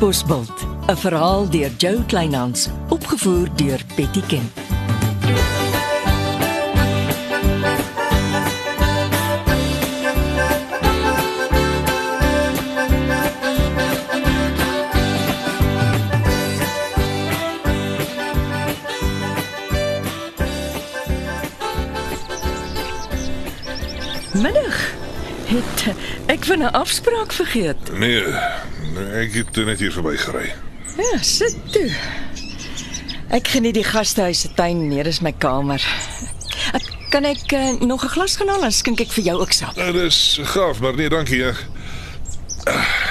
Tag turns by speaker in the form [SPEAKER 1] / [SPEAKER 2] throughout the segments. [SPEAKER 1] Bosbult, 'n verhaal deur Jo Kleinhans, opgevoer deur Betty Ken. Middag. Het eh, ek van 'n afspraak vergeet.
[SPEAKER 2] Nee, ek het net hier verbygery.
[SPEAKER 1] Ja, sit toe. Ek geniet die gastehuis se tuin meer as my kamer. Ek, kan ek eh, nog 'n glas gaan haal dan skink ek vir jou ook sap.
[SPEAKER 2] Dit Nou, is gaaf, maar nee, dankie. Ek, ek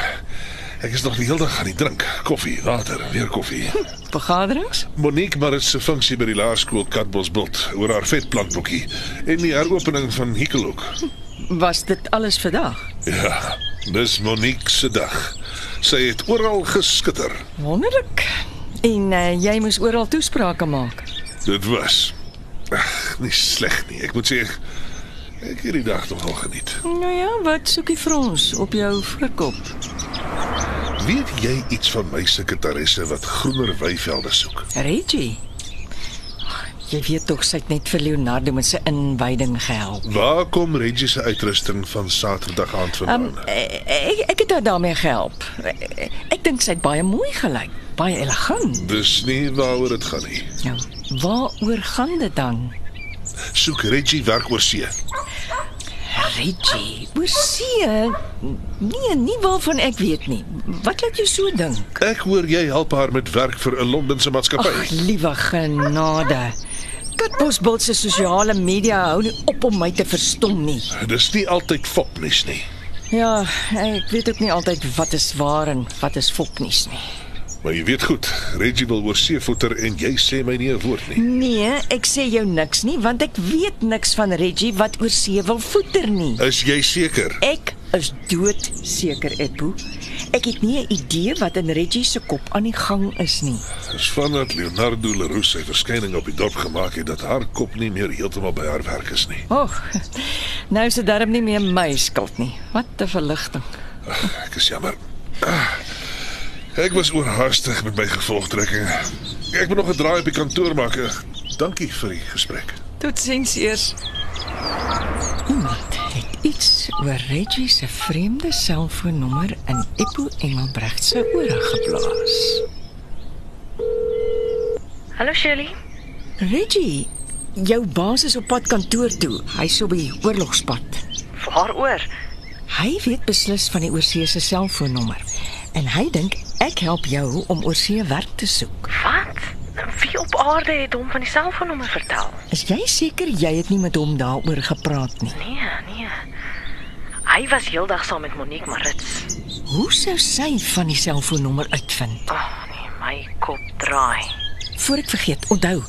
[SPEAKER 2] Ah, is nog die hele dag aan die drink. Koffie, water, weer koffie.
[SPEAKER 1] Vergaderings?
[SPEAKER 2] Monique Maris se funksie by die laerskool Katbosbult oor haar vetplantboekie en die heropening van Hikkelhoek.
[SPEAKER 1] Was dit alles vandag?
[SPEAKER 2] Ja, dis Monique se dag. Sy het oral geskitter.
[SPEAKER 1] Wonderlik. En eh, jy moes oral toesprake maak.
[SPEAKER 2] Dit was ag, nie sleg nie. Ek moet sê ek, ek het die dag nogal geniet.
[SPEAKER 1] Nou ja, wat soek jy vir ons op jou voorkop?
[SPEAKER 2] Weet jy iets van my sekretaresse wat groener weivelde soek?
[SPEAKER 1] Reggie. Jy weet tog sy het net vir Leonardo met sy inwyding gehelp.
[SPEAKER 2] Waar kom Reggie se uitrusting van Saterdag aand vandaan?
[SPEAKER 1] Um, ek, ek het haar daarmee gehelp. Ek, ek dink sy het baie mooi gelyk, baie elegant.
[SPEAKER 2] Dis nie waaroor dit gaan nie.
[SPEAKER 1] Nou, waaroor gaan dit dan?
[SPEAKER 2] Soek Reggie werk oor see.
[SPEAKER 1] Reggie, oor see? Nee, nie waarvan ek weet nie. Wat laat jou so dink?
[SPEAKER 2] Ek hoor jy help haar met werk vir 'n Londense
[SPEAKER 1] Ag,
[SPEAKER 2] maatskappy.
[SPEAKER 1] liewe genade. Katbosbult se sosiale media hou nie op om my te verstom nie.
[SPEAKER 2] Dis nie altyd fopnuus nie.
[SPEAKER 1] Ja, ek weet ook nie altyd wat is waar en wat is foknies nie.
[SPEAKER 2] Maar jy weet goed, Reggie wil oor see voeter en jy sê my nie 'n woord nie.
[SPEAKER 1] Nee, ek sê jou niks nie want ek weet niks van Reggie wat oor see wil voeter nie.
[SPEAKER 2] Is jy seker?
[SPEAKER 1] Ek is doodseker, Eppo. Ek het nie 'n idee wat in Reggie se kop aan die gang is nie.
[SPEAKER 2] Dis vandat Leonardo Leroux sy verskyning op die dorp gemaak het dat haar kop nie meer heeltemal by haar werk is nie.
[SPEAKER 1] Och. Nou is dit darm nie meer my skuld nie. Wat 'n verligting.
[SPEAKER 2] Ek is jammer. Ah, Ek was oorhaastig met my gevolgtrekking. Ek moet nog 'n draai op die kantoor maak. Eh, Dankie vir die gesprek.
[SPEAKER 1] Totsiens eers. Iemand het iets oor Reggie se vreemde selfoonnommer in Eppo Engelbregt se ore geplaas.
[SPEAKER 3] Hallo Shirley.
[SPEAKER 1] Reggie, jou baas is op pad kantoor toe. Hy's op die oorlogspad.
[SPEAKER 3] Waaroor?
[SPEAKER 1] Hy weet beslis van die oorsee se selfoonnommer en hy dink ek help jou om oorsee werk te soek.
[SPEAKER 3] Wat? Wie op aarde het hom van die selfoonnommer vertel?
[SPEAKER 1] Is jy seker jy het nie met hom daaroor gepraat nie?
[SPEAKER 3] Nee, nee. Hy was heeldag saam met Monique Marits.
[SPEAKER 1] Hoe sou sy van die selfoonnommer uitvind?
[SPEAKER 3] Ag oh, nee, my kop draai.
[SPEAKER 1] Voor ek vergeet, onthou,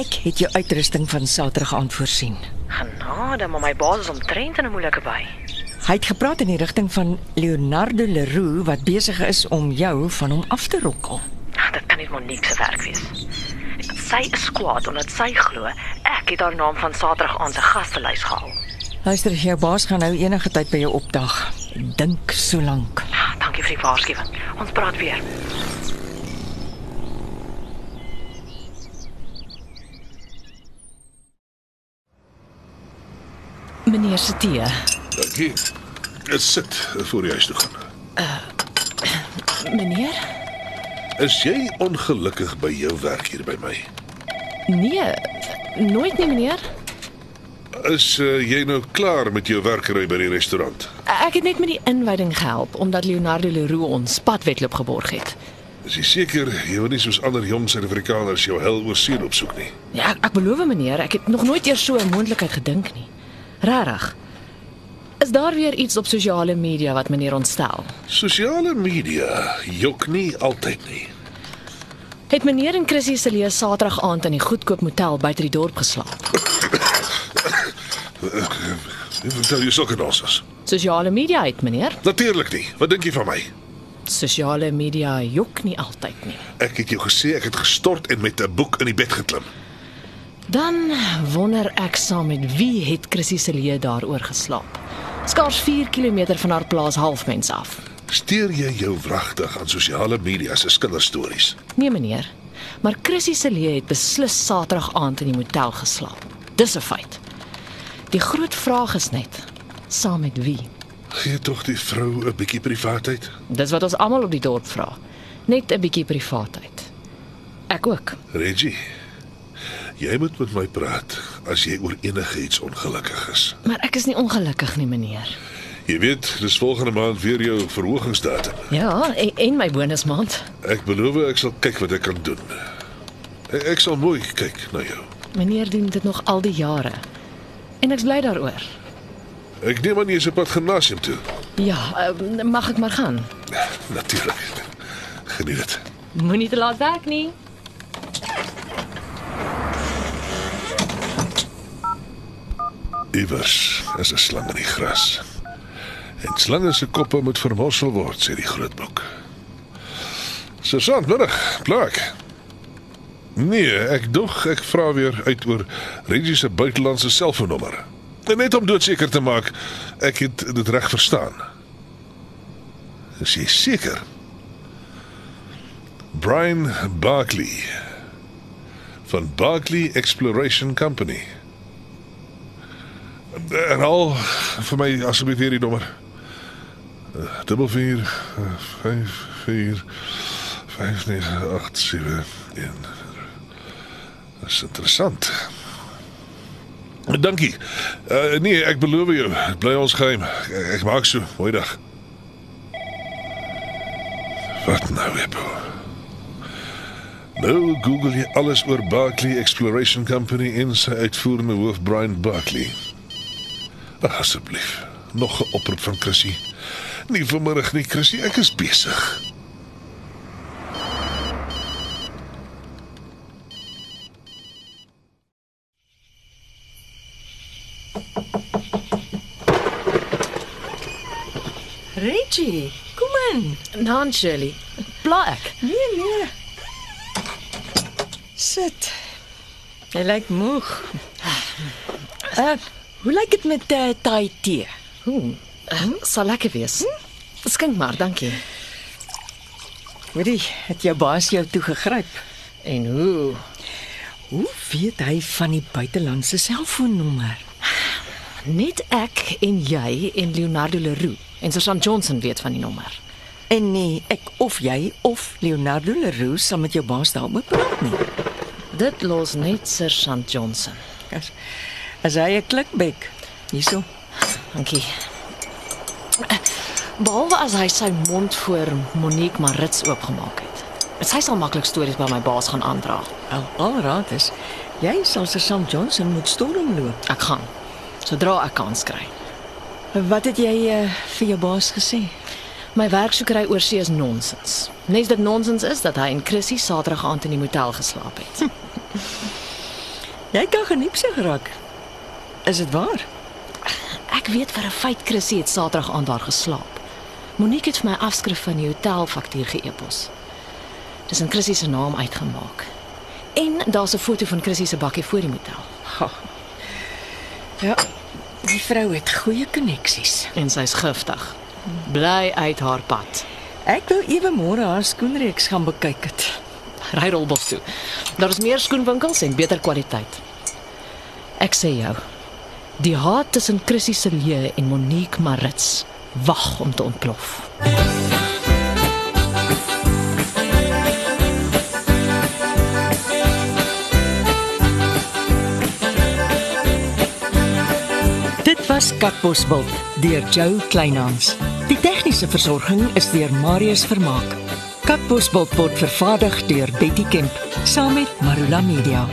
[SPEAKER 1] ek het jou uitrusting van Saterdag aand voorsien.
[SPEAKER 3] Genade, maar my baas is omtrent in 'n moeilike by.
[SPEAKER 1] Hy het gepraat in die rigting van Leonardo Leroux wat besig is om jou van hom af te rokkel.
[SPEAKER 3] Ag, Ah, Dit kan nie Monique se werk wees. Sy is kwaad omdat sy glo ek het haar naam van Saterdag aan se gastelys gehaal.
[SPEAKER 1] Luister, jou baas gaan nou enige tyd by jou opdag. Dink so lank.
[SPEAKER 3] Ah, Dankie vir die waarskuwing. Ons praat weer.
[SPEAKER 4] Meneer se tee.
[SPEAKER 2] Dankie. Dit sit eh, voor die huis toe gaan.
[SPEAKER 4] Eh, Meneer?
[SPEAKER 2] Is jy ongelukkig by jou werk hier by my?
[SPEAKER 4] Nee, nooit nie meneer.
[SPEAKER 2] Is uh, jy nou klaar met jou werkery by die restaurant?
[SPEAKER 4] Eh, Ek het net met die inwyding gehelp omdat Leonardo Leroux ons padwedloop geborg het.
[SPEAKER 2] Is jy seker jy wil nie soos ander jong Suid-Afrikaners jou hel oor see opsoek nie?
[SPEAKER 4] Ja, ek, ek beloof meneer, ek het nog nooit eers so 'n moontlikheid gedink nie. Regtig. Is daar weer iets op sosiale media wat meneer ontstel?
[SPEAKER 2] Sosiale media jok nie altyd nie.
[SPEAKER 4] Het meneer en Chrissy se lees Saterdag aand in die goedkoop motel buite die dorp geslaap?
[SPEAKER 2] Jy vertel jy sulke nonsens.
[SPEAKER 4] Sosiale media het meneer.
[SPEAKER 2] Natuurlik nie. Wat dink jy van my?
[SPEAKER 4] Sosiale media jok nie altyd nie.
[SPEAKER 2] Ek het jou gesê ek het gestort en met 'n boek in die bed geklim.
[SPEAKER 4] Dan wonder ek saam met wie het Chrissy se leë daaroor geslaap. Skaars 4 km van haar plaas halfmens af.
[SPEAKER 2] Stuur jy jou wragtig aan sosiale media se kinderstories?
[SPEAKER 4] Nee meneer, maar Chrissy se leeu het beslis Saterdag aand in die motel geslaap. Dis 'n feit. Die groot vraag is net saam met wie?
[SPEAKER 2] Gee tog die vrou 'n bietjie privaatheid.
[SPEAKER 4] Dis wat ons almal op die dorp vra. Net 'n bietjie privaatheid. Ek ook.
[SPEAKER 2] Reggie, jy moet met my praat as jy oor enigiets ongelukkig is.
[SPEAKER 4] Maar ek is nie ongelukkig nie, meneer.
[SPEAKER 2] Jy weet, dis volgende maand weer jou verhogingsdatum.
[SPEAKER 4] Ja, en, en my bonusmaand.
[SPEAKER 2] Ek beloof ek sal kyk wat ek kan doen. Ek, ek sal mooi kyk na jou.
[SPEAKER 4] Meneer doen dit nog al die jare. En ek's bly daaroor.
[SPEAKER 2] Ek neem aan jy is op pad gimnasium toe.
[SPEAKER 4] Ja, eh, mag ek maar gaan.
[SPEAKER 2] Natuurlik. Geniet dit.
[SPEAKER 4] Moenie te laat werk nie.
[SPEAKER 2] Iewers is 'n slang in die gras. En slange se koppe moet vermorsel word, sê die groot boek. Sergeant, middag, plak. Nee, ek dog ek vra weer uit oor Reggie se buitelandse selfoonnommer. En Net om doodseker te maak ek het dit reg verstaan. Is jy seker? Brian Barkley van Barkley Exploration Company. Herhaal vir my asseblief weer die nommer. Eh, Dubbel 4 eh, 5 4 5 9 8 7 1. Dit is interessant. Dankie. Uh, nee, ek beloof jou, dit bly ons geheim. Ek, ek maak so. Mooi dag. Wat nou, Eppo? Nou Google jy alles oor Barkley Exploration Company en sy uitvoerende hoof Brian Barkley. Ag asseblief, nog 'n oproep van Chrissy. Nie vanmiddag nie, Chrissy, ek is besig.
[SPEAKER 1] Reggie, kom in.
[SPEAKER 4] Nan Shirley, bla ek.
[SPEAKER 1] Nee, nee. Sit. Jy lyk moeg. Uh, hoe lyk dit met uh, Thai tee?
[SPEAKER 4] Ooh, sal lekker wees. Skink maar, dankie.
[SPEAKER 1] Hoorie, het jou baas jou toe gegryp?
[SPEAKER 4] En hoe?
[SPEAKER 1] Hoe weet hy van die buitelandse selfoonnommer?
[SPEAKER 4] Net ek en jy en Leonardo Leroux en Sergeant Johnson weet van die nommer.
[SPEAKER 1] En nee, ek of jy of Leonardo Leroux sal met jou baas daaroor praat nie.
[SPEAKER 4] Dit los net Sergeant Johnson.
[SPEAKER 1] As, as hy 'n klikbek hierso.
[SPEAKER 4] Dankie. Behalwe as hy sy mond voor Monique Marits oopgemaak het. Sy sal maklik stories by my baas gaan aandra.
[SPEAKER 1] Al alraad is jy sal se Sam Johnson moet storing loop.
[SPEAKER 4] Ek gaan sodra ek kans kry.
[SPEAKER 1] Wat het jy uh, vir jou baas gesê?
[SPEAKER 4] My werksoekery oor see is nonsens. Net dit nonsens is dat hy en Chrissy Saterdag aand in die motel geslaap het.
[SPEAKER 1] Jy kan geniepsig raak. Is dit waar?
[SPEAKER 4] Ek weet vir 'n feit Chrissy het Saterdag aand daar geslaap. Monique het vir my afskrif van die hotelfaktuur geëpos. Dis in Chrissy se naam uitgemaak. En daar's 'n foto van Chrissy se bakkie voor die motel
[SPEAKER 1] Ja. Die vrou het goeie koneksies.
[SPEAKER 4] en sy's giftig. Bly uit haar pad.
[SPEAKER 1] Ek wou ewe môre haar skoenreeks gaan bekyk het.
[SPEAKER 4] Ry rolbos toe. Daar's meer skoenwinkels en beter kwaliteit. Ek sê jou, die haat tussen Chrissy se leeu en Monique Marits wag om te ontplof.
[SPEAKER 5] Dit was Katbosveld deur Jo Kleinhans. Die tegniese versorging is deur Marius Vermaak. Katbosveld word vervaardig deur Betty Kemp saam met Marula Media.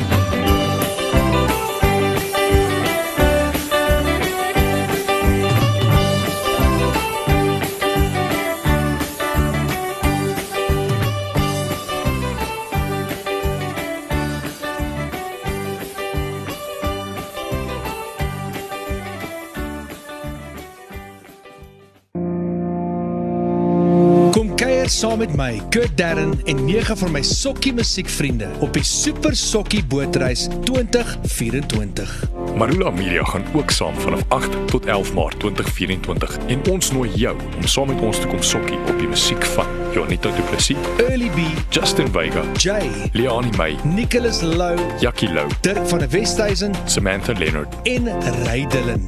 [SPEAKER 6] Kom kuier saam met my, Kurt Darren en nege van my sokkie musiekvriende op die Super Sokkie Bootreis 2024.
[SPEAKER 7] Marula Media gaan ook saam vanaf 8 tot 11 Maart 2024 en ons nooi jou om saam met ons te kom sokkie op die musiek van Jonita Du Plessis,
[SPEAKER 6] Early B,
[SPEAKER 7] Justin Vega,
[SPEAKER 6] Jay,
[SPEAKER 7] Leoni May,
[SPEAKER 6] Nicholas Lou,
[SPEAKER 7] Jackie Lou,
[SPEAKER 6] Dirk van der Westhuizen
[SPEAKER 7] Samantha Leonard
[SPEAKER 6] en Rydelin.